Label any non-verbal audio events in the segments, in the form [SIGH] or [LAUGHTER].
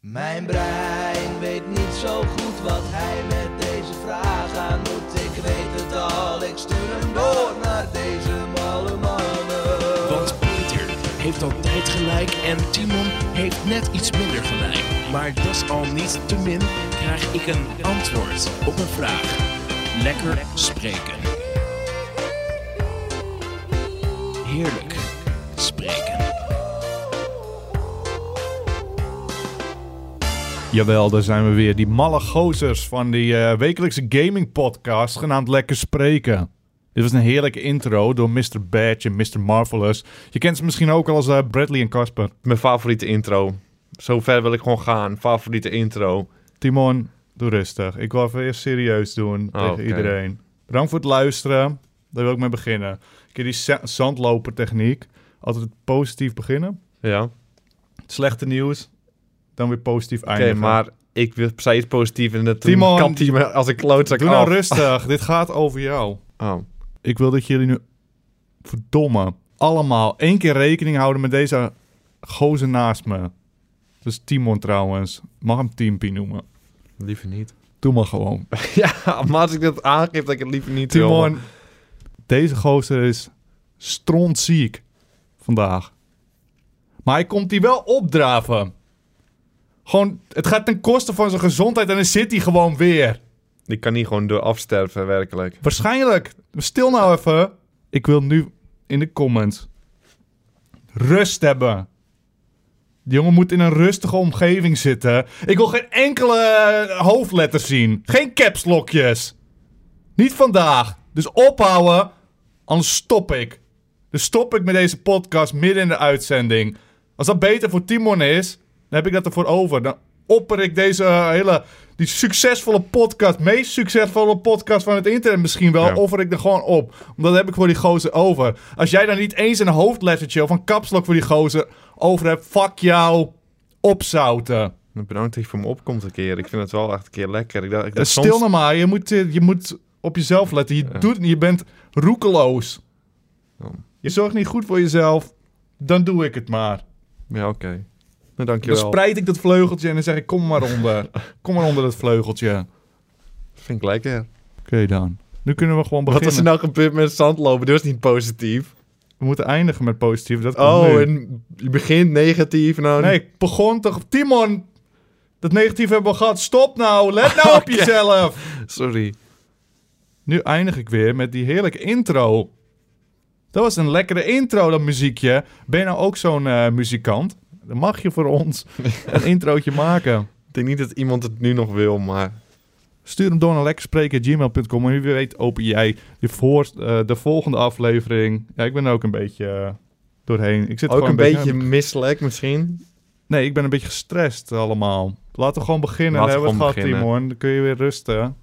Mijn brein weet niet zo goed wat hij met deze vraag aan moet. Ik weet het al, ik stuur hem door naar deze malle mannen. Want Peter heeft altijd gelijk en Timon heeft net iets minder gelijk. Maar dat is al niet te min, krijg ik een antwoord op een vraag. Lekker spreken. Heerlijk spreken. Jawel, daar zijn we weer. Die malle gozers van die eh, wekelijkse gaming podcast genaamd Lekker Spreken. Dit was een heerlijke intro door Mr. Badge en Mr. Marvelous. Je kent ze misschien ook al als eh, Bradley en Casper. Mijn favoriete intro. Zo ver wil ik gewoon gaan. Favoriete intro. Timon, doe rustig. Ik wil even eerst serieus doen Oh, tegen oké. iedereen. Bedankt voor het luisteren. Daar wil ik mee beginnen. Ik heb die za- zandloper techniek. Altijd positief beginnen. Ja. Oké, Slechte nieuws. Dan weer positief eindigen. maar ik wil- zei iets positiefs en het Timon, [LAUGHS] kapt hij me als een klootzak Doe af. nou rustig. Dit gaat over jou. Oh. Ik wil dat jullie nu, verdomme, allemaal één keer rekening houden met deze gozer naast me. Dat is Timon trouwens. Mag hem Timpie noemen. Liever niet. [LAUGHS] Doe maar gewoon. ja, maar als ik dat aangeef, dat ik het liever niet wil. Timon, deze gozer is strontziek vandaag. Maar hij komt hier wel opdraven. Gewoon, het gaat ten koste van zijn gezondheid en dan zit hij gewoon weer. Ik kan niet gewoon door afsterven, werkelijk. Waarschijnlijk. Stil nou even. Ik wil nu in de comments rust hebben. Die jongen moet in een rustige omgeving zitten. Ik wil geen enkele eh, hoofdletter zien. Geen capslokjes. Niet vandaag. Dus ophouden. Anders stop ik. Dus stop ik met deze podcast midden in de uitzending. Als dat beter voor Timon is, dan heb ik dat ervoor over. Dan opper ik deze eh, hele... Die succesvolle podcast, meest succesvolle podcast van het internet misschien wel, Ja. offer ik er gewoon op. Omdat heb ik voor die gozer over. Als jij dan niet eens een hoofdlettertje of een kapslok voor die gozer over hebt, fuck jou, opzouten. Bedankt dat je voor me opkomt een keer. Ik vind het wel echt een keer lekker. Ik dacht, ik Dat dacht stil soms- nou maar. Je moet, eh, je moet op jezelf letten. Je, doet, je bent roekeloos. Ja. Je zorgt niet goed voor jezelf. Dan doe ik het maar. Ja, oké. Nou, Dan dankjewel. spreid ik dat vleugeltje en dan zeg ik: kom maar [LAUGHS] onder. kom maar onder dat vleugeltje. Oké Vind ik lekker. dan. Nu kunnen we gewoon Wat beginnen. is er nou gebeurd met zandlopen? Dit was niet positief. We moeten eindigen met positief. Dat komt Oh, nu. en je begint negatief. Nou, Nee, ik begon toch... Timon, dat negatief hebben we gehad. Stop nou, let [LAUGHS] nou op Oké. jezelf. Sorry. Nu eindig ik weer met die heerlijke intro. Dat was een lekkere intro, dat muziekje. Ben je nou ook zo'n eh, muzikant? Dan mag je voor [LAUGHS] ons een introotje maken. Ik denk niet dat iemand het nu nog wil, maar... Stuur hem door naar lekkerspreken.gmail.com. En wie weet open jij je voor, eh, de volgende aflevering. Ja, ik ben er ook een beetje eh, doorheen. Ik zit Ook gewoon een beetje misselijk misschien. Nee, ik ben een beetje gestrest allemaal. Laten we gewoon beginnen. Laten Laten we we hebben we het gewoon gehad, Timon. Dan kun je weer rusten.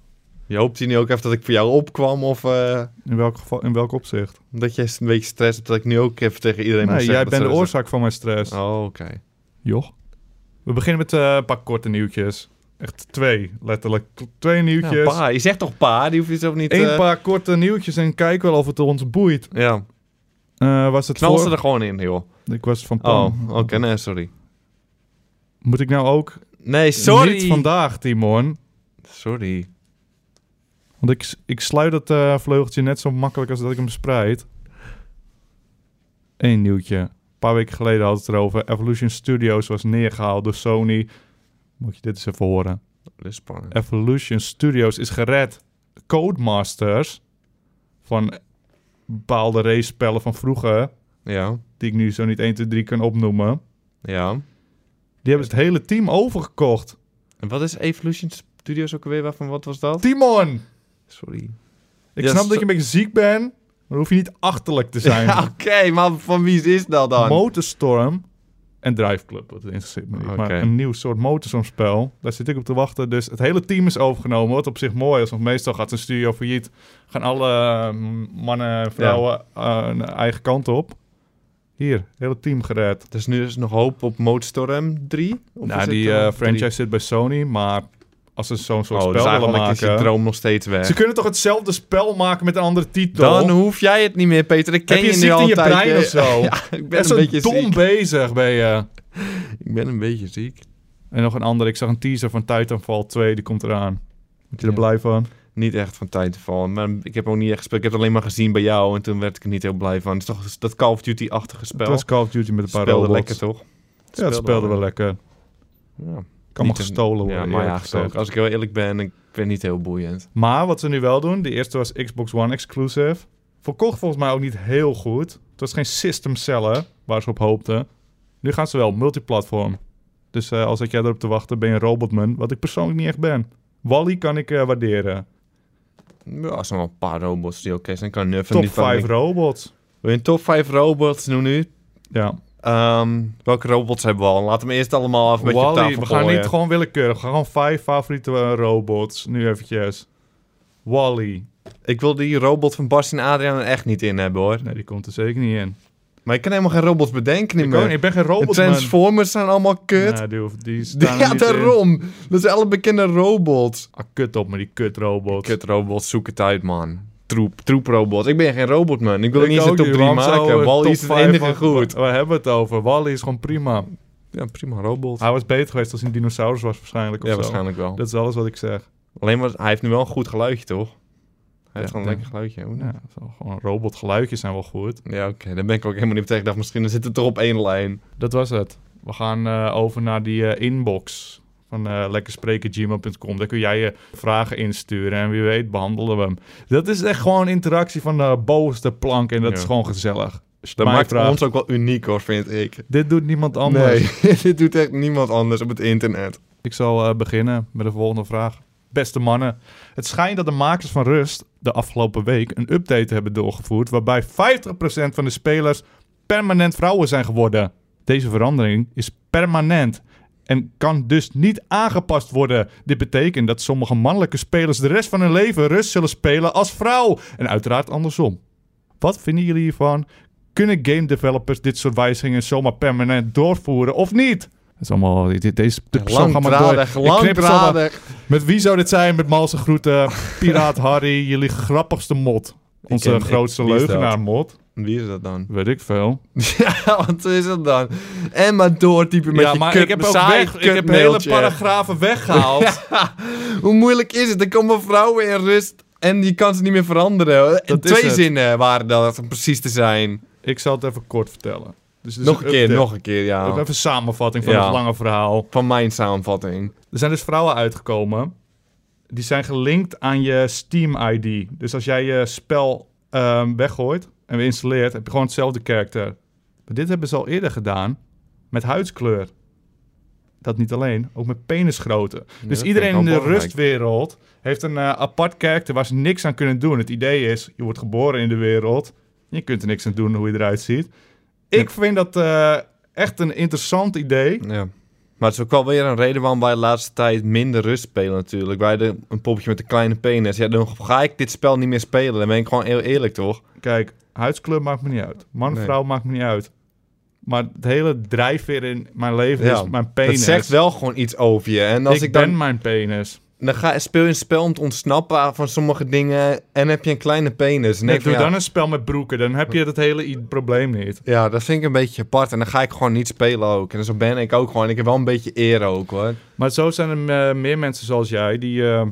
Je hoopt hier nu ook even dat ik voor jou opkwam of eh, In welk, geval, in welk opzicht? dat jij een beetje stress hebt dat ik nu ook even tegen iedereen moet Nee, zeggen. jij dat bent de ze- dus- oorzaak van mijn stress. Oh, oké. Joch. We beginnen met eh, een paar korte nieuwtjes. Echt twee, letterlijk. T- Twee Ja, nieuwtjes. pa, je zegt toch pa? Die hoef je zelf niet... Eén eh, paar korte nieuwtjes en kijk wel of het ons boeit. Ja, Eh, was het knal voor... ze er gewoon in, joh. Ik was van plan. Oh, oké, nee, sorry. Moet ik nou ook... Nee, sorry. Niet vandaag, Timon. Sorry. Want ik, ik sluit dat eh, vleugeltje net zo makkelijk als dat ik hem spreid. Eén nieuwtje. Een paar weken geleden had het erover. Evolution Studios was neergehaald door Sony. Moet je dit eens even horen. Dat is spannend. Evolution Studios is gered. Codemasters van bepaalde race-spellen van vroeger, Ja, die ik nu zo niet 1, 2, 3 kan opnoemen, ja. die hebben het hele team overgekocht. En wat is Evolution Studios ook alweer? Waarvan, wat was dat? Timon! Sorry. Ik Ja, snap zo- dat je een beetje ziek bent, maar hoef je niet achterlijk te zijn. [LAUGHS] Ja, oké, maar van wie is dat dan? Motorstorm en Drive Club, dat interesseert me niet. Maar Oké. een nieuw soort motorstormspel, daar zit ik op te wachten. Dus het hele team is overgenomen, wat op zich mooi is. Want meestal gaat een studio failliet, gaan alle eh, m- mannen en vrouwen eh, een eigen kant op. Hier, het hele team gered. dus nu is nog hoop op Motorstorm 3? Of is nou, het, die eh, eh, drie? franchise zit bij Sony, maar als ze zo'n soort Oh, dus spel willen eigenlijk is je maken... droom nog steeds weg. Ze kunnen toch hetzelfde spel maken met een andere titel? Dan hoef jij het niet meer, Peter. Ik ken Heb je nu ziekte al in je een tijdje. brein of zo? Ja, [LAUGHS] ik ben Echt zo een beetje dom eh, ziek. bezig ben je. Ik ben een beetje ziek. En nog een ander. Ik zag een teaser van Titanfall 2. Die komt eraan. Word je er Ja. blij van? Niet echt van tijd te vallen. Maar ik heb ook niet echt gespeeld. Ik heb het alleen maar gezien bij jou en toen werd ik er niet heel blij van. Het is toch dat Call of Duty-achtige spel. Het was Call of Duty met een paar speelde robots. lekker toch? Ja, het speelde wel lekker. Ja. Kan maar Niet gestolen worden. Ja, maar eerlijk ja, gezegd. ook. Als ik heel eerlijk ben, ik vind het niet heel boeiend. Maar wat ze nu wel doen, de eerste was Xbox One exclusive. Verkocht volgens mij ook niet heel goed. Het was geen system seller waar ze op hoopten. Nu gaan ze wel multiplatform. Dus eh, als ik jij erop te wachten, ben je een robotman. Wat ik persoonlijk niet echt ben. Wally kan ik eh, waarderen. Ja, er zijn wel een paar robots die oké zijn. Ik kan nu even Top niet van- 5 robots. Wil je een top 5 robots doen nu? Ja. Ehm, welke robots hebben we al? Laat hem eerst allemaal even een beetje op Wally, tafel we gaan gooien. niet gewoon willekeurig. We gaan gewoon vijf favoriete eh, robots. Nu eventjes. Wally. Ik wil die robot van Bas en Adriaan er echt niet in hebben, hoor. Nee, die komt er zeker niet in. Maar ik kan helemaal geen robots bedenken niet Ik, meer. ook niet, ik ben geen de robotman. Transformers zijn allemaal kut. Nee, die, hoeft- die staan er ja, niet in. daarom. Dat zijn alle bekende robots. Ah, kut op met die kutrobot. Kut robots, zoek het uit, man. Troep, troep robots. Ik ben geen robot, man. Ik wil Ik niet eens een ook top niet, 3 waarom zouden maken. we Wally top is het vijf enige maken? goed. Waar hebben we het over? Wally is gewoon prima. Ja, prima robot. Hij was beter geweest als hij een dinosaurus was waarschijnlijk. Of ja, zo. waarschijnlijk wel. Dat is alles wat ik zeg. Alleen maar, hij heeft nu wel een goed geluidje, toch? Hij heeft gewoon een denk- lekker geluidje. nou? hoor. Ja, zo, gewoon robotgeluidjes zijn wel goed. Ja, oké. Daar ben ik ook helemaal niet op tegen. Ik dacht, misschien zit het toch op één lijn. Dat was het. We gaan eh, over naar die eh, inbox van eh lekkerspreken.gmail.com. Daar kun jij je vragen insturen en wie weet behandelen we hem. Dat is echt gewoon interactie van de bovenste plank en dat Ja. is gewoon gezellig. Als je Dat mij maakt vraagt, ons ook wel uniek, hoor, vind ik. Dit doet niemand anders. Nee, [LAUGHS] dit doet echt niemand anders op het internet. Ik zal eh, beginnen met de volgende vraag. Beste mannen, het schijnt dat de makers van Rust de afgelopen week een update hebben doorgevoerd waarbij 50% van de spelers permanent vrouwen zijn geworden. Deze verandering is permanent en kan dus niet aangepast worden. Dit betekent dat sommige mannelijke spelers de rest van hun leven Rust zullen spelen als vrouw en uiteraard andersom. Wat vinden jullie hiervan? Kunnen game developers dit soort wijzigingen zomaar permanent doorvoeren of niet? Het is allemaal, dit- dit- deze de persoon gaat maar door. Langdradig, Ik knip het allemaal. langdradig. Met wie zou dit zijn? Met malse [LAUGHS] groeten, Piraat Harry, jullie grappigste mod. Onze ken- ik- grootste wie is dat? leugenaar mod. Wie is dat dan? [LAUGHS] Weet ik veel. Ja, wat is dat dan? En maar doortypen met je kut, saai kutmailtje. [LAUGHS] paragrafen weggehaald. Hoe moeilijk is het? Er komen vrouwen in rust en je kan ze niet meer veranderen. Dat is Twee het. zinnen waren dat, om precies te zijn. Ik zal het even kort vertellen. Dus het is nog een keer, update. nog een keer, ja. Even een samenvatting van Ja. het lange verhaal. Van mijn samenvatting. Er zijn dus vrouwen uitgekomen. Die zijn gelinkt aan je Steam-ID. Dus als jij je spel ehm, weggooit en weer installeert, heb je gewoon hetzelfde karakter. Maar dit hebben ze al eerder gedaan met huidskleur. Dat niet alleen, ook met penisgrootte. dus ik iedereen wel in de belangrijk. rustwereld heeft een eh, apart karakter waar ze niks aan kunnen doen. Het idee is, je wordt geboren in de wereld. Je kunt er niks aan doen hoe je eruit ziet. Ik vind dat eh, echt een interessant idee. Ja. Maar het is ook wel weer een reden waarom wij de laatste tijd minder rust spelen natuurlijk. Wij de, een poppetje met een kleine penis. Ja, dan ga ik dit spel niet meer spelen. Dan ben ik gewoon heel eerlijk, toch? Kijk, huidskleur maakt me niet uit. Man, Nee. vrouw maakt me niet uit. Maar het hele drijfveer in mijn leven Ja, is mijn penis. Dat zegt wel gewoon iets over je. En als ik ik, dan, ben mijn penis. dan ga, speel je een spel om te ontsnappen van sommige dingen. En heb je een kleine penis. En Nee, denk van, doe ja, dan een spel met broeken. Dan heb je dat hele i- probleem niet. Ja, dat vind ik een beetje apart. En dan ga ik gewoon niet spelen ook. En zo ben ik ook gewoon. Ik heb wel een beetje eer ook, hoor. Maar zo zijn er eh, meer mensen zoals jij die eh,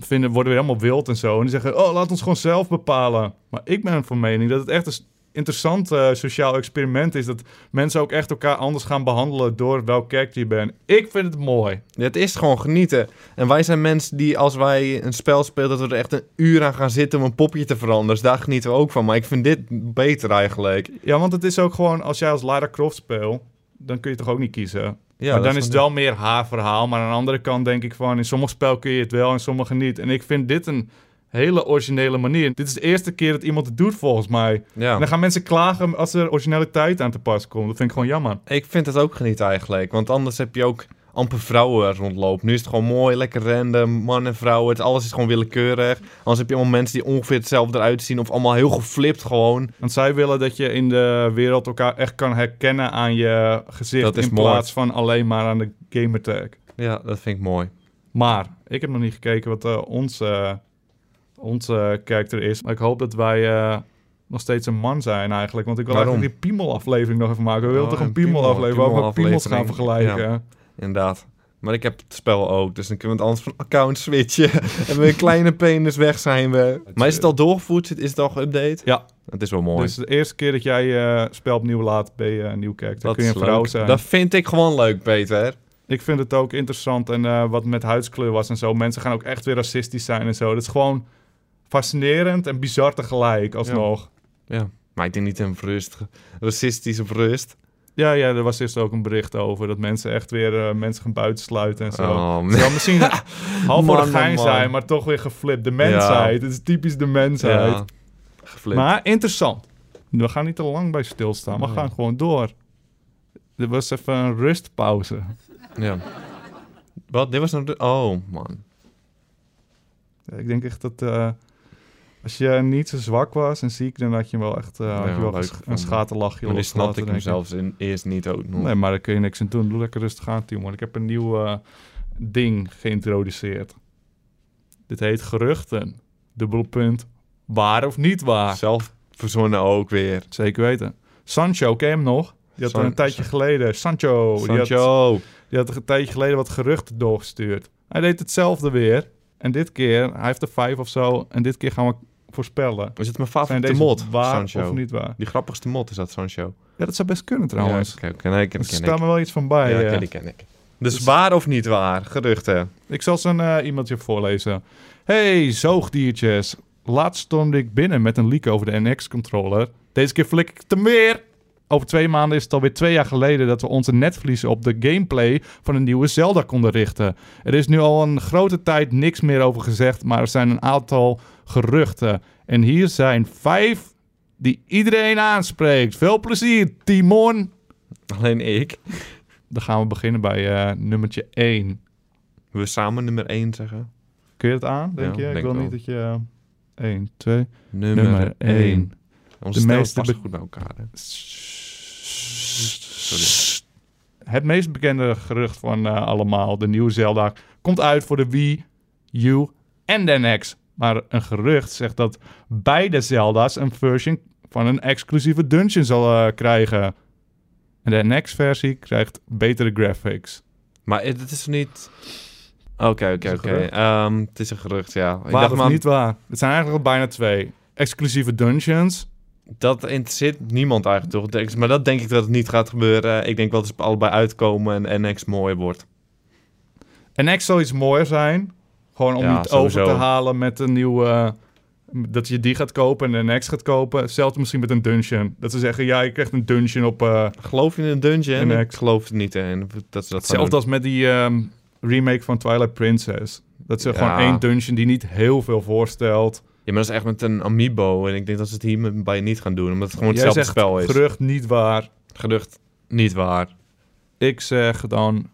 vinden, worden weer helemaal wild en zo. En die zeggen, oh, laat ons gewoon zelf bepalen. Maar ik ben van mening dat het echt een s- interessant eh, sociaal experiment is. Dat mensen ook echt elkaar anders gaan behandelen door welk kerk je bent. Ik vind het mooi. Het is gewoon genieten. En wij zijn mensen die, als wij een spel spelen, dat we er echt een uur aan gaan zitten om een popje te veranderen. Dus daar genieten we ook van. Maar ik vind dit beter eigenlijk. Ja, want het is ook gewoon, als jij als Lara Croft speelt, dan kun je toch ook niet kiezen. Ja, maar dat dan is het wel meer haar verhaal. Maar aan de andere kant denk ik van, in sommige spel kun je het wel, in sommige niet. En ik vind dit een hele originele manier. Dit is de eerste keer dat iemand het doet, volgens mij. En Ja. dan gaan mensen klagen als er originaliteit aan te pas komt. Dat vind ik gewoon jammer. Ik vind het ook genieten eigenlijk. Want anders heb je ook amper vrouwen rondlopen. Nu is het gewoon mooi, lekker random. Mannen, vrouwen. Het, alles is gewoon willekeurig. Anders heb je allemaal mensen die ongeveer hetzelfde eruit zien. Of allemaal heel geflipt gewoon. Want zij willen dat je in de wereld elkaar echt kan herkennen aan je gezicht. Dat is in mooi. plaats van alleen maar aan de gamertag. Ja, dat vind ik mooi. Maar ik heb nog niet gekeken wat eh, ons, eh, ons eh, karakter is. Maar ik hoop dat wij eh, nog steeds een man zijn eigenlijk. Want ik wil Waarom? eigenlijk die piemelaflevering nog even maken. We willen Oh, toch een een piemel- piemelaflevering waar we piemels gaan piemelaflevering. vergelijken. Inderdaad. Maar ik heb het spel ook, dus dan kunnen we het anders van account switchen. [LAUGHS] en we een kleine penis weg zijn we. Maar is het al doorgevoerd? Zit- Is het al geüpdate? eh, Ja. Het is wel mooi. Dus de eerste keer dat jij eh, spel opnieuw laat, ben je een nieuw character. dat kun je is een vrouw leuk. zijn. Dat vind ik gewoon leuk, Peter. Ik vind het ook interessant. En eh, wat met huidskleur was en zo. Mensen gaan ook echt weer racistisch zijn en zo. Dat is gewoon fascinerend en bizar tegelijk alsnog. Ja. Maar ik denk niet een rust. Racistisch op rust. Ja, ja, er was eerst ook een bericht over. Dat mensen echt weer eh, mensen gaan buitensluiten en zo. Oh, [LAUGHS] Het zal misschien [LAUGHS] half voor Man, de gein man, man. zijn, maar toch weer geflipt. De mensheid. Het is typisch de mensheid. ja. Geflipt. Maar interessant. We gaan niet te lang bij stilstaan. We Nee. gaan gewoon door. Er was even een rustpauze. Ja. Wat? Dit was een... ru- Oh, man. Ja, Ik denk echt dat eh, als je niet zo zwak was en ziek, dan had je hem wel echt eh, had je wel leuk ges- een gevonden. schaterlachje Maar dit losgelaten, snapte ik denk hem zelfs in, eerst niet ook nog. Nee, maar daar kun je niks aan doen. Doe lekker rustig aan, Timon. Ik heb een nieuw eh, ding geïntroduceerd. Dit heet geruchten. Dubbelpunt. Waar of niet waar? Zelf verzonnen ook weer. Zeker weten. Sancho, ken je hem nog? Die had San- een tijdje geleden... Sancho. Oh, die had- Sancho. Die had een tijdje geleden wat geruchten doorgestuurd. Hij deed hetzelfde weer. En dit keer, hij heeft er vijf of zo. En dit keer gaan we voorspellen. Is het mijn Zijn favoriete deze mod, waar Sancho? of niet waar? Die grappigste mod is dat, Sancho. Ja, dat zou best kunnen trouwens. Ja, oké, oké, nee, ik er ken, ken staat me wel iets van bij. ik. Ja, eh. ken ik, ken ik. Dus waar of niet waar? Geruchten. Ik zal zo'n eh, e-mailtje voorlezen. Hey, zoogdiertjes. Laatst stond ik binnen met een leak over de NX-controller. Deze keer flik ik het er weer. Over twee maanden is het alweer twee jaar geleden dat we onze netvliezen op de gameplay van een nieuwe Zelda konden richten. Er is nu al een grote tijd niks meer over gezegd, maar er zijn een aantal geruchten. En hier zijn vijf die iedereen aanspreekt. Veel plezier, Timon. Alleen ik. Dan gaan we beginnen bij eh, nummertje 1. We samen nummer 1 zeggen. Kun je het aan, denk Ja, je? Ik denk wil wel. niet dat je... 1, 2, Nummer, nummer 1. Onze De stijl meeste past be- goed bij elkaar. Hè? Het meest bekende gerucht van eh, allemaal, de nieuwe Zelda, komt uit voor de Wii, U en de NX. Maar een gerucht zegt dat beide Zelda's een version van een exclusieve dungeon zal eh, krijgen. En de NX-versie krijgt betere graphics. Maar het het is niet... Oké, is oké, een oké. gerucht. Ehm, Het is een gerucht, ja. Ik Waar dacht of maar, niet waar? Het zijn eigenlijk al bijna twee. Exclusieve dungeons. dat interesseert niemand eigenlijk toch. denk ik. Maar dat denk ik dat het niet gaat gebeuren. Ik denk wel dat ze allebei uitkomen en NX mooier wordt. NX zou iets mooier zijn. Gewoon om Ja, niet sowieso. over te halen met een nieuwe... eh, dat je die gaat kopen en de NX gaat kopen. Hetzelfde misschien met een dungeon. Dat ze zeggen, ja, je krijgt een dungeon op... eh, Geloof je in een dungeon? NX. Ik geloof er niet in. Dat ze dat gaan hetzelfde als met die ehm, remake van Twilight Princess. Dat ze Ja. gewoon één dungeon die niet heel veel voorstelt. Ja, maar dat is echt met een amiibo. En ik denk dat ze het hierbij niet gaan doen. Omdat het gewoon Jij hetzelfde zegt spel is. Gerucht niet waar. Gerucht. Niet waar. Ik zeg dan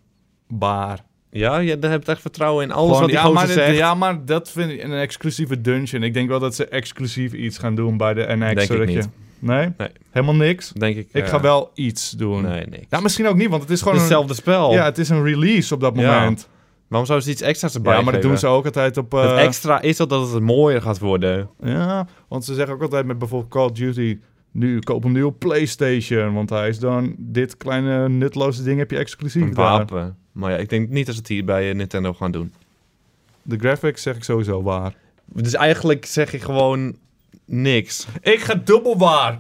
waar. Ja, je daar hebt echt vertrouwen in alles Gewoon, wat die ja, maar gozer dit- zegt. ja, maar dat vind ik een exclusieve dungeon. Ik denk wel dat ze exclusief iets gaan doen bij de NX. Denk ik zodat niet. Je... Nee? Nee. Helemaal niks? Denk ik. Ik eh, ga wel iets doen. Nee, nee. Ja, misschien ook niet, want het is gewoon hetzelfde spel. Een, ja, het is een release op dat Ja. moment. Waarom zouden ze iets extra's Ja, erbij maar dat geven? doen ze ook altijd op... Het eh, extra is al dat het mooier gaat worden. Ja, want ze zeggen ook altijd met bijvoorbeeld Call of Duty... Nu, koop hem nu op PlayStation, want hij is dan... Dit kleine nutloze ding heb je exclusief Een daar. wapen. Maar ja, ik denk niet dat ze het hier bij eh, Nintendo gaan doen. De graphics zeg ik sowieso waar. Dus eigenlijk zeg je gewoon niks. Ik ga dubbel waar.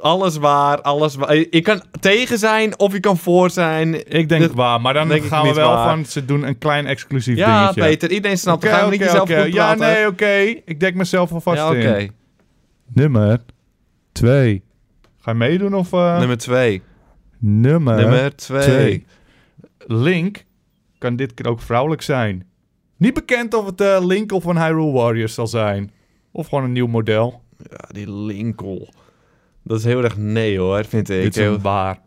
Alles waar, alles waar. Je je kan tegen zijn of je kan voor zijn. Ik denk Dit- waar, maar dan denk ik gaan we niet wel waar. van... Ze doen een klein exclusief Ja, dingetje. Peter, iedereen snapt. Oké, het. Ga je oké, niet jezelf oké. goed Ja, praten. nee, oké. Ik dek mezelf alvast Ja, oké. in. Nummer 2. Ga je meedoen of... eh? Nummer 2. Nummer, Nummer 2. twee. Link kan dit keer ook vrouwelijk zijn. Niet bekend of het eh, Link of een Hyrule Warriors zal zijn. Of gewoon een nieuw model. Ja, die Linkel. Dat is heel erg nee hoor, vind ik. dit is Heel- een waar.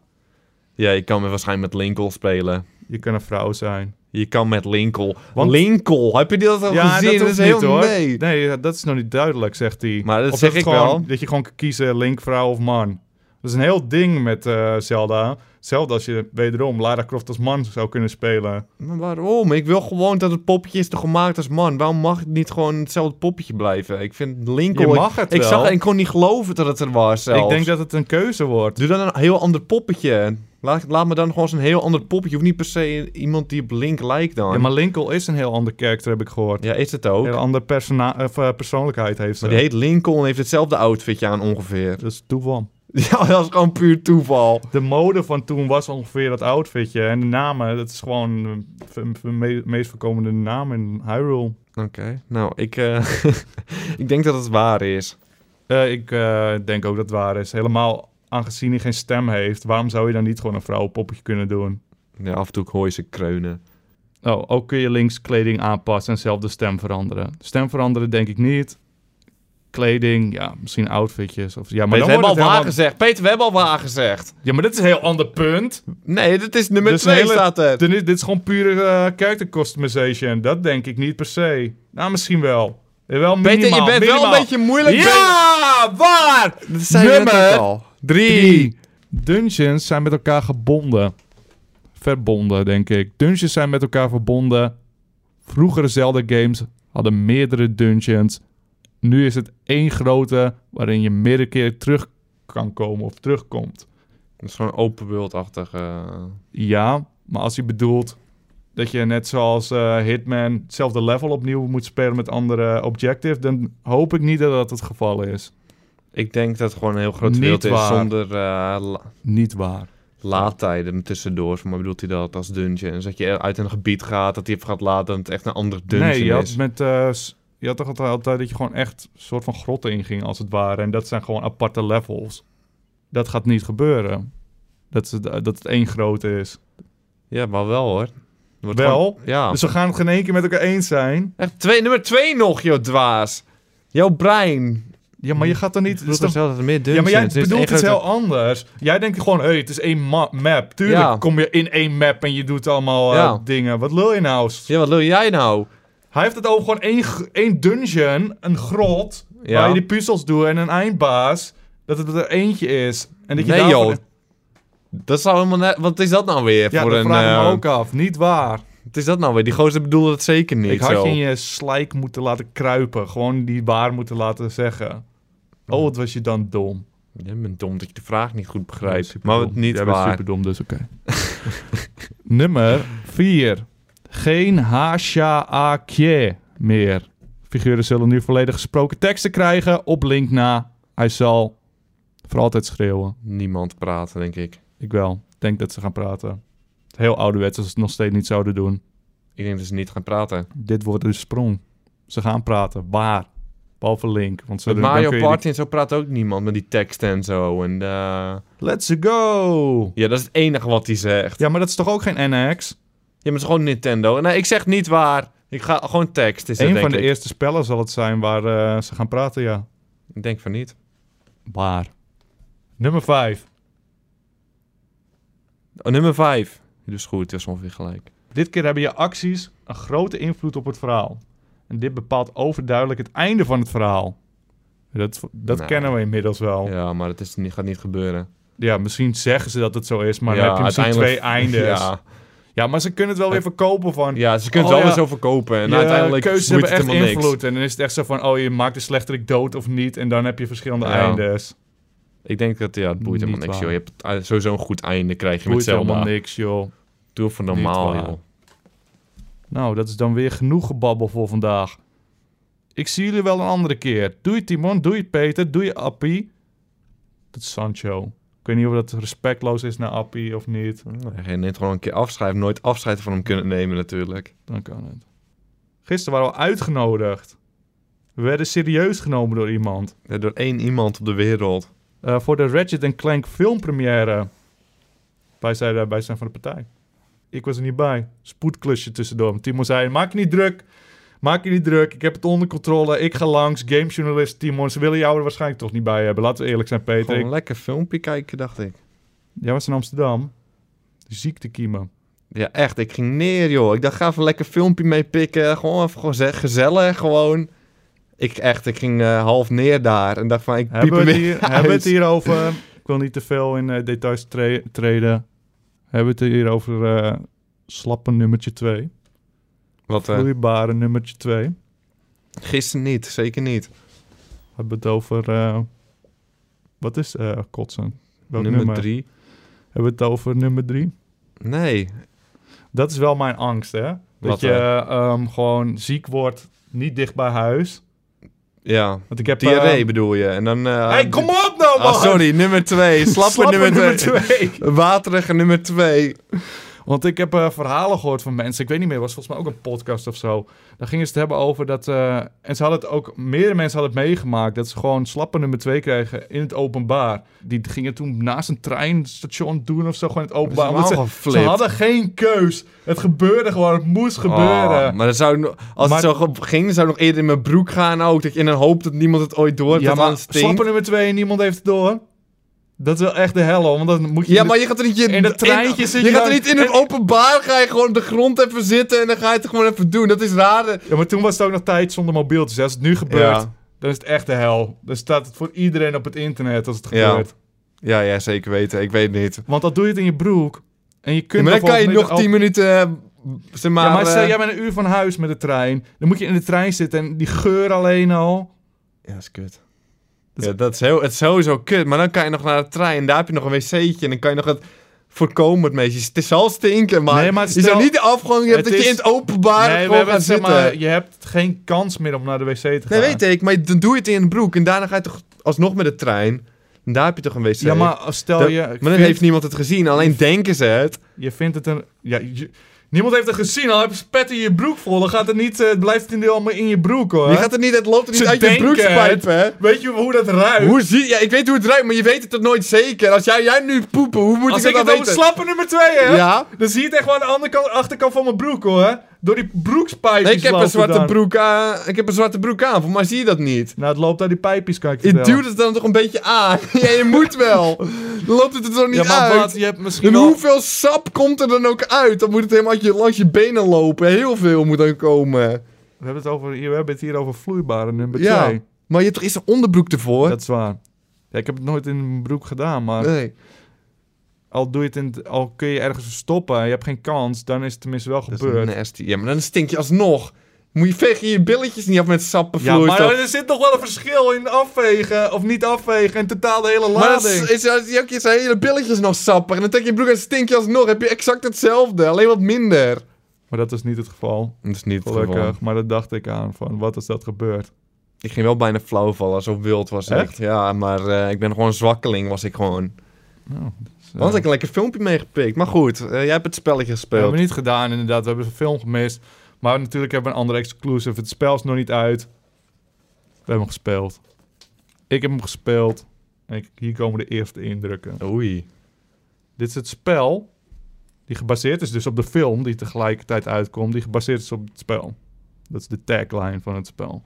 Ja, je kan met- waarschijnlijk met Linkel spelen. Je kan een vrouw zijn. Je kan met Linkel. Want- Linkel, heb je die dat al gezien? hoeft is heel nee. Nee. dat is nog niet duidelijk, zegt hij. Maar dat Of zeg het ik gewoon, wel. Dat je gewoon kan kiezen Link, vrouw of man. Dat is een heel ding met eh, Zelda. Hetzelfde als je wederom Lara Croft als man zou kunnen spelen. Maar waarom? Ik wil gewoon dat het poppetje is gemaakt als man. Waarom mag het niet gewoon hetzelfde poppetje blijven? Ik vind Linkel... Je ik- mag het ik, wel. zag en kon niet geloven dat het er was zelfs. Ik denk dat het een keuze wordt. Doe dan een heel ander poppetje. Laat, laat me dan gewoon zo'n heel ander poppetje. Je hoeft niet per se iemand die op Link lijkt dan. Ja, Ja, maar Lincoln is een heel ander karakter, heb ik gehoord. is het ook. Een heel andere persona- of, eh, persoonlijkheid heeft ze. maar die heet Lincoln en heeft hetzelfde outfitje aan ongeveer. [LAUGHS] Dat is toeval. Ja, dat is gewoon puur toeval. De mode van toen was ongeveer dat outfitje. En de namen, dat is gewoon eh, de me- meest voorkomende naam in Hyrule. Oké, nou, ik, eh, [LAUGHS] ik denk dat het waar is. Eh, ik eh, denk ook dat het waar is. Helemaal aangezien hij geen stem heeft, waarom zou je dan niet gewoon een vrouwenpoppetje kunnen doen? Ja, af en toe hoor je ze kreunen. Oh, ook kun je links kleding aanpassen en zelf de stem veranderen. Stem veranderen denk ik niet. Kleding, ja, misschien outfitjes. Of, ja, maar Maar dan Peter, we hebben wordt al het waar helemaal... gezegd. Peter, we hebben al waar gezegd. Ja, maar dit is een heel ander punt. Nee, dit is nummer Dus twee een hele- staat er. Dit is, dit is gewoon pure eh, character customization. Dat denk ik niet per se. Nou, misschien wel. Eh, Wel minimaal. Peter, je bent wel minimaal. een beetje moeilijk. Ja, waar? Dat zei Nummer je net ook al. Drie. Drie. Dungeons zijn met elkaar gebonden. Verbonden, denk ik. Dungeons zijn met elkaar verbonden. Vroegere Zelda-games hadden meerdere dungeons. Nu is het één grote waarin je meerdere keer terug kan komen of terugkomt. Dat is gewoon open world-achtig. eh. Ja, maar als je bedoelt dat je net zoals eh, Hitman hetzelfde level opnieuw moet spelen met andere objectives, dan hoop ik niet dat dat het geval is. Ik denk dat het gewoon een heel groot Niet wereld is waar. zonder eh, la- Niet waar. laadtijden tussendoor. Maar bedoelt hij dat als dungeons? Dat je uit een gebied gaat, dat hij even gaat laden, dat het echt een ander dungeon nee, je had, is. met, eh, s- je had toch altijd, altijd dat je gewoon echt een soort van grotten inging, als het ware. En dat zijn gewoon aparte levels. Dat gaat niet gebeuren. Dat, is, het- dat het één grote is. Ja, maar wel hoor. Wordt Wel? gewoon- ja. Dus we gaan het geen één keer met elkaar eens zijn. Echt twee, nummer twee nog, joh, dwaas. Jouw brein. Ja, maar je gaat dan niet... Het het is is toch dan- zelf dat er meer ja, dungeons maar jij Het is bedoelt echt iets dat- heel anders. Jij denkt gewoon, hé, hey, het is één ma- map. Tuurlijk Ja. kom je in één map en je doet allemaal eh, Ja. dingen. Wat lul je nou? Ja, wat wil jij nou? Hij heeft het over gewoon één, g- één dungeon, een grot, Ja. waar je die puzzels doet en een eindbaas. Dat het er eentje is. En dat je nee, daarvoor- joh. Dat zou helemaal net... Wat is dat nou weer Ja, voor dat een... vraag ik me eh, ook af. Niet waar. Wat is dat nou weer? Die gozer bedoelde het zeker niet Ik had zo. je in je slijk moeten laten kruipen. Gewoon die waar moeten laten zeggen. Oh, wat was je dan dom. Jij bent dom dat je de vraag niet goed Ja, begrijpt. superdom. maar wat niet Jij bent waar. superdom, dus oké. [LAUGHS] Nummer 4. Geen Hasha-Akje meer. Figuren zullen nu volledig gesproken teksten krijgen. Op link na. Hij zal voor altijd schreeuwen. Niemand praten, denk ik. Ik wel. Ik denk dat ze gaan praten. Heel ouderwets als ze het nog steeds niet zouden doen. Ik denk dat ze niet gaan praten. Dit wordt een sprong. Ze gaan praten. Waar? Behalve Link. Want ze Met dan kun Mario je die- Party en zo praat ook niemand met die tekst en zo. En eh, Let's go! Ja, dat is het enige wat hij zegt. Ja, Ja, maar dat is toch ook geen NX? maar het is gewoon Nintendo. Nee, ik zeg niet waar. Ik ga gewoon tekst. Is het, Een denk van de ik. eerste spellen zal het zijn waar eh, ze gaan praten, ja. Ik denk van niet. Waar? Nummer 5. Oh, nummer 5. Dus goed, het was ongeveer gelijk. Dit keer hebben je acties een grote invloed op het verhaal. En dit bepaalt overduidelijk het einde van het verhaal. Dat, dat Nou. kennen we inmiddels wel. Ja, maar dat is, niet- gaat niet gebeuren. Ja, misschien zeggen ze dat het zo is, maar ja, dan heb je misschien twee uiteindelijk- eindes. Ja. [LAUGHS] Ja, maar ze kunnen het wel weer verkopen van... ja ze kunnen Oh, het wel ja. eens overkopen. En je uiteindelijk keuzes boeit hebben het echt helemaal invloed. niks. En dan is het echt zo van, oh, je maakt de slechterik dood of niet. En dan heb je verschillende Ja. eindes. Ik denk dat ja, het boeit Niet helemaal niks, waar. joh. Je hebt eh, sowieso een goed einde, krijg je Boeit met Zelda. helemaal niks, joh. Doe voor Niet normaal, waar. joh. Nou, dat is dan weer genoeg gebabbel voor vandaag. Ik zie jullie wel een andere keer. Doei Timon, doei Peter, doei Appie. Dat is Sancho. Ik weet niet of dat respectloos is naar Appie of niet. Hij neemt gewoon een keer afscheid. Nooit afscheid van hem kunnen nemen, natuurlijk. Dan kan het. Gisteren waren we uitgenodigd. We werden serieus genomen door iemand. Ja, door één iemand op de wereld. Eh, voor de Ratchet Clank filmpremière. Wij zeiden, wij zijn van de partij. Ik was er niet bij. Spoedklusje tussendoor. Maar Timo zei, maak je niet druk. Maak je niet druk. Ik heb het onder controle. Ik ga langs. Gamejournalist Timo. Ze willen jou er waarschijnlijk toch niet bij hebben. Laten we eerlijk zijn, Peter. Gewoon Ik, een lekker filmpje kijken, dacht ik. jij was in Amsterdam. Ziektekiemen. Ja, echt. Ik ging neer, joh. Ik dacht, ga even een lekker filmpje mee pikken. Gewoon even gewoon ze- gezellig, gewoon. Ik echt, ik ging eh, half neer daar. En dacht van, ik piep Hebben hem we het, weer hier, uit. [LAUGHS] hebben we het hier over... Ik wil niet te veel in eh, details tre- treden. Hebben we het hier over eh slappe nummertje 2. Wat, eh, Vloeibare nummertje 2. gisteren niet. Zeker niet. We hebben het over. eh, wat is eh, kotsen? Welk nummer? nummer drie. Hebben Hebben we het over nummer drie? Nee. Dat is wel mijn angst, hè? Dat Wat, eh? je ehm, gewoon ziek wordt, niet dicht bij huis. Ja. Want ik heb... Diarree ehm, bedoel je. En dan... eh, hey, kom op nou, man! Ah, sorry, nummer [LAUGHS] twee. Slappe, Slappe nummer, nummer twee. twee. Waterige nummer twee. Want ik heb eh, verhalen gehoord van mensen. Ik weet niet meer, het was volgens mij ook een podcast of zo. Daar gingen ze het hebben over dat. eh, en ze hadden het ook. Meerdere mensen hadden het meegemaakt. Dat ze gewoon slappe nummer 2 kregen in het openbaar. Die gingen toen naast een treinstation doen of zo. Gewoon in het openbaar. helemaal Omdat ze, geflipt. ze hadden geen keus. Het gebeurde gewoon. Het moest gebeuren. Oh, maar dan zou, no- als Maar- het zo ge- ging, zou het nog eerder in mijn broek gaan ook. Dat je in een hoop dat niemand het ooit door ja, dat maar aan stinkt. slappe nummer 2 en niemand heeft het door. Dat is wel echt de hel, hoor, want dan moet je. dus Ja, maar je gaat er niet in, in dat treintje in- zit Je je gaat er dan- niet in het openbaar. Ga je gewoon op de grond even zitten en dan ga je het gewoon even doen. Dat is raar. Ja, maar toen was het ook nog tijd zonder mobieltjes. Als het nu gebeurt, Ja. dan is het echt de hel. Dan staat het voor iedereen op het internet als het Ja. gebeurt. Ja, ja, zeker weten. Ik weet niet. Want dan doe je het in je broek. En je kunt Maar dan kan je bijvoorbeeld nog niet- 10 minuten. eh, Zeg maar, Ja, maar stel, eh, jij bent een uur van huis met de trein. Dan moet je in de trein zitten en die geur alleen al. Ja, dat is kut. Ja, dat is, heel, het is sowieso kut. Maar dan kan je nog naar de trein en daar heb je nog een wc'tje. En dan kan je nog het voorkomen het meest. Het zal stinken, maar, Nee, maar je zou stel- niet de afgang Het hebben dat is- je in het openbaar nee, we gewoon hebben gaat het, zeg zitten. maar, je hebt geen kans meer om naar de wc te gaan. nee, weet ik. Maar dan doe je het in de broek en daarna ga je toch alsnog met de trein. En daar heb je toch een wc. Ja, maar als- stel Dat- je... maar dan vindt- heeft niemand het gezien. Alleen denken ze het. Je vindt het een... Ja, je- niemand heeft het gezien, al heb je spet in je broek vol. Dan gaat het niet... eh, het blijft het niet allemaal in je broek, hoor. Je gaat er niet, het loopt er niet Ze uit je denken broekspijp, het. hè. Weet je hoe dat ruikt? Hoe zie, ja, ik weet hoe het ruikt, maar je weet het toch nooit zeker. Als jij, jij nu poepen, hoe moet Als ik ik dat het dan over weten? slappe nummer 2 heb, Ja. dan zie je het echt wel aan de andere kant, achterkant van mijn broek hoor. Door die broekspijpjes. Nee, ik heb lopen een zwarte dan. broek aan. Ik heb een zwarte broek aan, voor mij zie je dat niet. Nou, het loopt uit die pijpjes, kan ik Je vertellen. duwt het dan toch een beetje aan. [LAUGHS] ja, je moet wel. Dan loopt het er toch niet Ja, maar uit. wat? Je hebt misschien En wel... hoeveel sap komt er dan ook uit? Dan moet het helemaal uit je- langs je benen lopen. Heel veel moet dan komen. We hebben het, over, hier- we hebben het hier over vloeibare nummer 2. Ja. Maar je hebt toch eerst een onderbroek ervoor? Dat is waar. Ja, ik heb het nooit in mijn broek gedaan, maar Nee. al, doe je het in, het- al kun je ergens stoppen en je hebt geen kans, dan is het tenminste wel Dat is gebeurd. nasty. Ja, maar dan stink je alsnog. Moet je vegen je billetjes niet af met Ja, sappenvloeistof. maar er zit nog wel een verschil in afvegen of niet afvegen en totaal de hele Maar dat lading. is, is, is, ook- zijn hele billetjes nog sappig. En dan trek je je broek en stink je alsnog. Heb je exact hetzelfde, alleen wat minder. Maar dat is niet het geval. Dat is niet Gelukkig, maar dat dacht ik aan, van wat is dat gebeurd? Ik ging wel bijna flauw vallen, zo wild was ik. Echt? Ja, maar eh, ik ben gewoon een zwakkeling, was ik gewoon. Zo. eh, Dan had ik een lekker filmpje meegepikt. Maar goed, eh, jij hebt het spelletje We gespeeld. hebben niet gedaan, inderdaad. We hebben een film gemist. Maar natuurlijk hebben we een andere exclusive. Het spel is nog niet uit. We hebben hem gespeeld. Ik heb hem gespeeld. En ik- hier komen de eerste indrukken. Oei. Dit is het spel die gebaseerd is dus op de film die tegelijkertijd uitkomt. Die gebaseerd is op het spel. Dat is de tagline van het spel.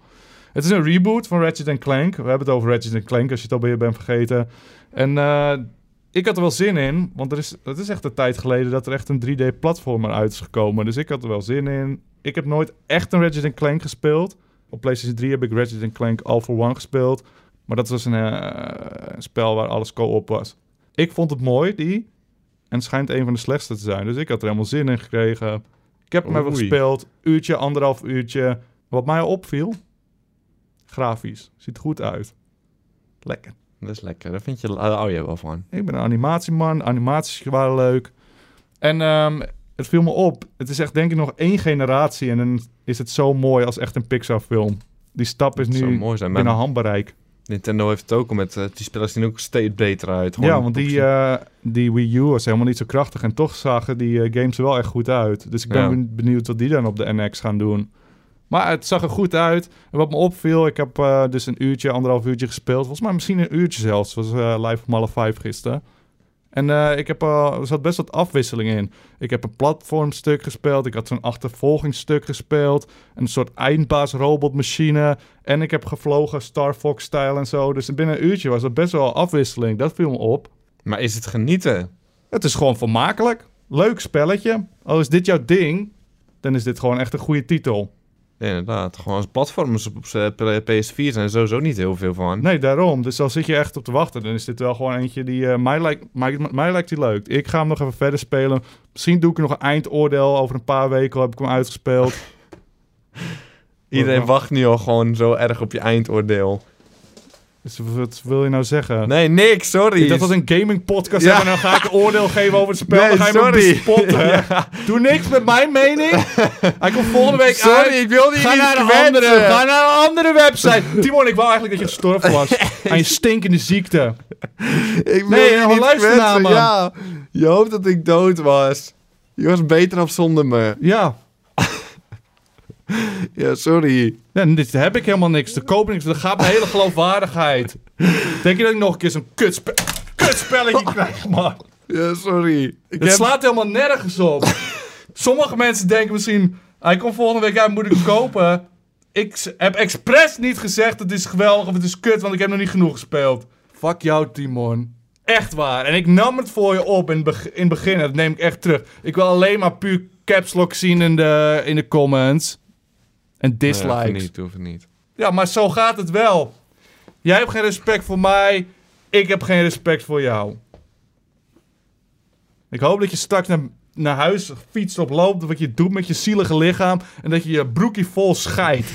Het is een reboot van Ratchet Clank. We hebben het over Ratchet Clank, als je het alweer bent vergeten. En eh, ik had er wel zin in, want er is, het is echt een tijd geleden dat er echt een 3D-platformer uit is gekomen. Dus ik had er wel zin in. Ik heb nooit echt een Ratchet Clank gespeeld. Op PlayStation 3 heb ik Ratchet Clank All for One gespeeld. Maar dat was een eh, spel waar alles co-op was. Ik vond het mooi, die. En het schijnt een van de slechtste te zijn. Dus ik had er helemaal zin in gekregen. Ik heb hem even Oei. gespeeld. Uurtje, anderhalf uurtje. Wat mij opviel. Grafisch. Ziet er goed uit. Lekker. Dat is lekker, daar vind je, daar hou je wel van. Ik ben een animatieman. Animaties waren leuk. En ehm, het viel me op. Het is echt denk ik nog één generatie. En dan is het zo mooi als echt een Pixar film. Die stap is Het zou nu mooi zijn, maar binnen handbereik. Nintendo heeft het ook al met, eh, die spelers zien er ook steeds beter uit. Gewoon Ja, want die, op- eh, die Wii U was helemaal niet zo krachtig. En toch zagen die eh, games er wel echt goed uit. Dus ik ben Ja. ben- benieuwd wat die dan op de NX gaan doen. Maar het zag er goed uit. En wat me opviel, ik heb eh, dus een uurtje, anderhalf uurtje gespeeld. Volgens mij misschien een uurtje zelfs. was eh, Live of Malle 5 gisteren. En eh, ik heb, eh, er zat best wat afwisseling in. Ik heb een platformstuk gespeeld. Ik had zo'n achtervolgingsstuk gespeeld. Een soort eindbaas robotmachine. En ik heb gevlogen Star Fox-stijl en zo. Dus binnen een uurtje was dat best wel afwisseling. Dat viel me op. Maar is het genieten? Het is gewoon vermakelijk. Leuk spelletje. Al is dit jouw ding, dan is dit gewoon echt een goede titel. Ja, inderdaad. Gewoon als platformers op, eh, op z'n PS4 zijn er sowieso niet heel veel van. Nee, daarom. Dus al zit je echt op te wachten, dan is dit wel gewoon eentje die eh, mij, lijkt, mij, mij lijkt die leuk. Ik ga hem nog even verder spelen. Misschien doe ik er nog een eindoordeel over een paar weken. Al heb ik hem uitgespeeld. Iedereen wacht nu al gewoon zo erg op je eindoordeel. Dus wat wil je nou zeggen? Nee, niks, sorry. Ik dacht dat was een gaming podcast Ja. en dan ga ik een oordeel geven over het spel. Nee, dan ga je me sorry. [LAUGHS] bespotten. Doe niks met mijn mening. Hij komt volgende week Sorry, uit. ik wilde je Ga niet naar, een kwetsen. andere, ga naar een andere website. [LAUGHS] Timon, ik wou eigenlijk dat je gestorven [LAUGHS] was. Aan je stinkende ziekte. Ik Nee, nou, wilde je gewoon niet luisteren naar kwetsen, me. Ja, je hoopt dat ik dood was. Je was beter af zonder me. Ja. Ja, sorry. ja en dit heb ik helemaal niks. Er koop niks. Er gaat mijn hele [LAUGHS] geloofwaardigheid. Denk je dat ik nog een keer zo'n kutspe [LAUGHS] kutspelletje krijg, man? Ja, sorry. Ik Het heb... slaat helemaal nergens op. Sommige mensen denken misschien... Hij komt volgende week uit, moet ik hem kopen? Ik s- heb expres niet gezegd het is geweldig of het is kut... want ik heb nog niet genoeg gespeeld. Fuck jou, Timon. Echt waar. En ik nam het voor je op in, het beg- in het begin. en Dat neem ik echt terug. Ik wil alleen maar puur caps lock zien in de, in de comments. En Ja, hoeft dislikes. niet, hoeft niet. Ja, maar zo gaat het wel. Jij hebt geen respect voor mij. Ik heb geen respect voor jou. Ik hoop dat je straks naar, naar huis fietst op loopt. Wat je doet met je zielige lichaam. En dat je je broekje vol scheidt.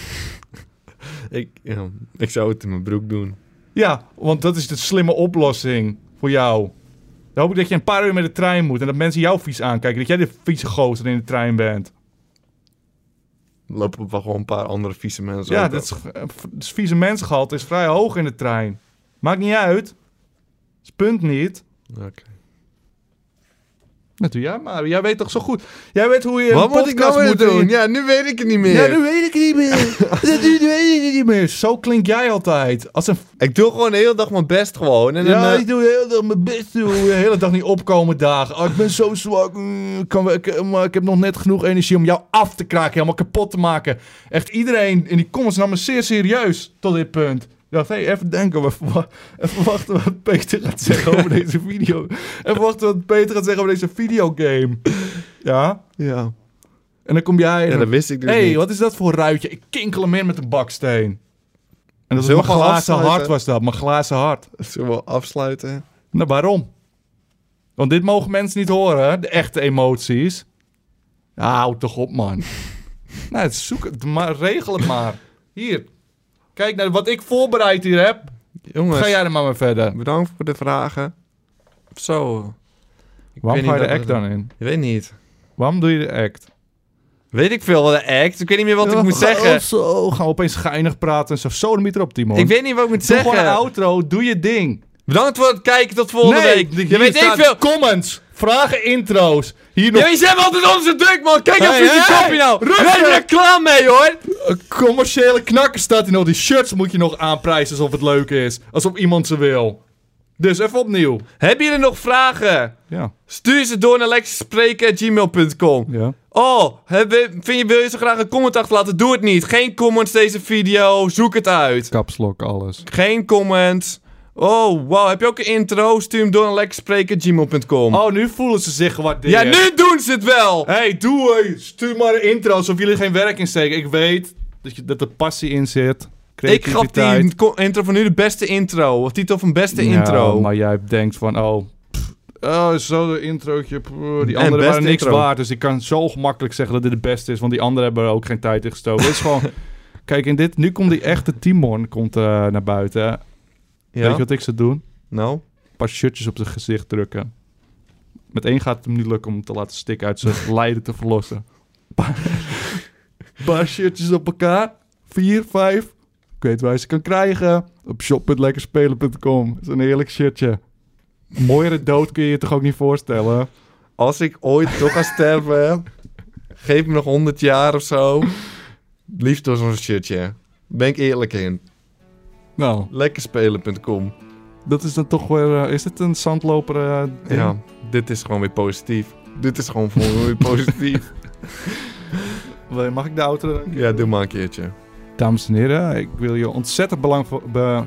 Ik, ja, ik zou het in mijn broek doen. Ja, want dat is de slimme oplossing voor jou. Dan hoop ik dat je een paar uur met de trein moet. En dat mensen jou vies aankijken. Dat jij de vieze gozer in de trein bent. Dan lopen er wel gewoon een paar andere vieze mensen. ja, ook dat op. is, eh, v- dus vieze mensgehalte is vrij hoog in de trein. Maakt niet uit. Dat is punt niet. Oké. Dat doe jij maar. Jij weet toch zo goed. Jij weet hoe je Wat een moet ik podcast nou weer moet doen? Ja, nu weet ik het niet meer. Ja, dat weet ik niet meer. [LAUGHS] dat nu weet ik niet meer. Zo klink jij altijd. Als een... Ik doe gewoon de hele dag mijn best gewoon. En Ja, dan, eh, ik doe heel dag mijn best. Doe. [LAUGHS] De hele dag niet opkomen dagen. Oh, ik ben zo zwak. Mm, ik Kan, wel- ik, maar ik heb nog net genoeg energie om jou af te kraken. Helemaal kapot te maken. Echt iedereen in die comments nam me zeer serieus tot dit punt. Ik dacht, hey, even denken. we verwa- [LAUGHS] Even wachten wat Peter gaat zeggen [LAUGHS] over deze video. Even wachten wat Peter gaat zeggen over deze videogame. Ja. ja. En dan kom jij... en ja, dan- dat wist ik dus Hé, hey, niet. wat is dat voor ruitje? Ik kinkel hem in met een baksteen. En dat was Zullen mijn we gewoon glazen hart afsluiten? was dat, mijn glazen hart. Zullen we afsluiten? Nou, waarom? Want dit mogen mensen niet horen, hè? de echte emoties. Ja, houd toch op, [LAUGHS] man. nou, het zoek het maar, regel het maar. Hier, kijk naar wat ik voorbereid hier heb. Jongens, Ga jij er maar mee verder. bedankt voor de vragen. Zo. Ik Waarom weet ga je niet de dat act het- dan in? Ik weet niet. Waarom doe je de act? Weet ik veel wat de act. Ik weet niet meer wat ik moet Ga- zeggen. Oh, zo, gaan we opeens geinig praten en zo. Zo de mieter op, Timon. Ik weet niet wat ik moet doe gewoon een zeggen. outro, doe je ding. Bedankt voor het kijken. Tot volgende week. hier Je weet ik staat veel. Comments, vragen, intro's. Hier nog Jullie zijn altijd onze druk, man. Kijk Hey, even die hey, kopje nou. rustig. Ben je er klaar mee, hoor. een commerciële knakker staat in al die shirts. Moet je nog aanprijzen alsof het leuk is. Alsof iemand ze wil. Dus even opnieuw. Hebben jullie nog vragen? Ja. Stuur ze door naar lexspreken.gmail.com. ja. Oh, heb, vind je, wil je zo graag een comment achterlaten? Doe het niet. Geen comments deze video. Zoek het uit. Kapslok, alles. Geen comments. Oh, wauw. Heb je ook een intro? Stuur hem door naar lexspreken.gmail.com. Oh, nu voelen ze zich gewaardeerd. ja, nu doen ze het wel. hey, doe hey, Stuur maar een intro alsof jullie geen werk in steken. Ik weet dat, je, dat er passie in zit. Ik gaf creativiteit. die co- intro van nu de beste intro. Of titel van beste Ja, intro. Nou, Maar jij denkt van, oh... pff, Oh, zo een introotje. pff, Die En andere beste waren niks intro. waard. Dus ik kan zo gemakkelijk zeggen dat dit de beste is. Want die anderen hebben er ook geen tijd in gestoken. Het is [LAUGHS] gewoon... Kijk, in dit, nu komt die echte Timon komt, eh, naar buiten. Weet je wat ik zou doen? Een Nou. paar shirtjes op zijn gezicht drukken. Met één gaat het hem niet lukken om hem te laten stikken uit [LAUGHS] zijn lijden te verlossen. Een paar- een [LAUGHS] paar shirtjes op elkaar. Vier, vijf. Ik weet waar je ze kan krijgen. Op shop.lekkerspelen.com. Dat is een heerlijk shirtje. Een Mooiere dood kun je je toch ook niet voorstellen? Als ik ooit toch ga sterven, geef me nog 100 jaar of zo. Liefst door zo'n shirtje. Ben ik eerlijk in. Nou, Lekkerspelen.com. dat is dan toch weer... eh, is het een zandloper? eh, ding? Ja, dit is gewoon weer positief. Dit is gewoon [LAUGHS] voor weer positief. Wil- Mag ik de auto... Ja, doe maar een keertje. Dames en heren, ik wil je ontzettend belang voor... be-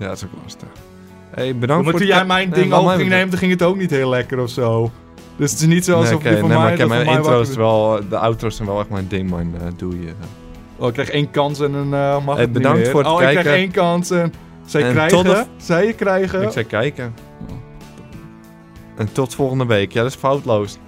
Ja, dat is ook lastig. hey, bedankt maar Oh, voor toen het- e- jij mijn Nee, ding laat ook mij ging maar- nemen, toen ging het ook niet heel lekker of zo. Dus het is niet zo Nee, alsof oké, die van nee, maar mij... ik heb dat van mijn mij intro's wakker- wel... De outro's zijn wel echt mijn ding, man. eh, doe je. Oh, ik krijg één kans en een eh mag Hey, het bedankt niet meer. voor het oh, ik krijg kijken. één kans en... Zij En krijgen, tot de- zij je krijgen. Ik zei kijken. En tot volgende week. Ja, dat is foutloos.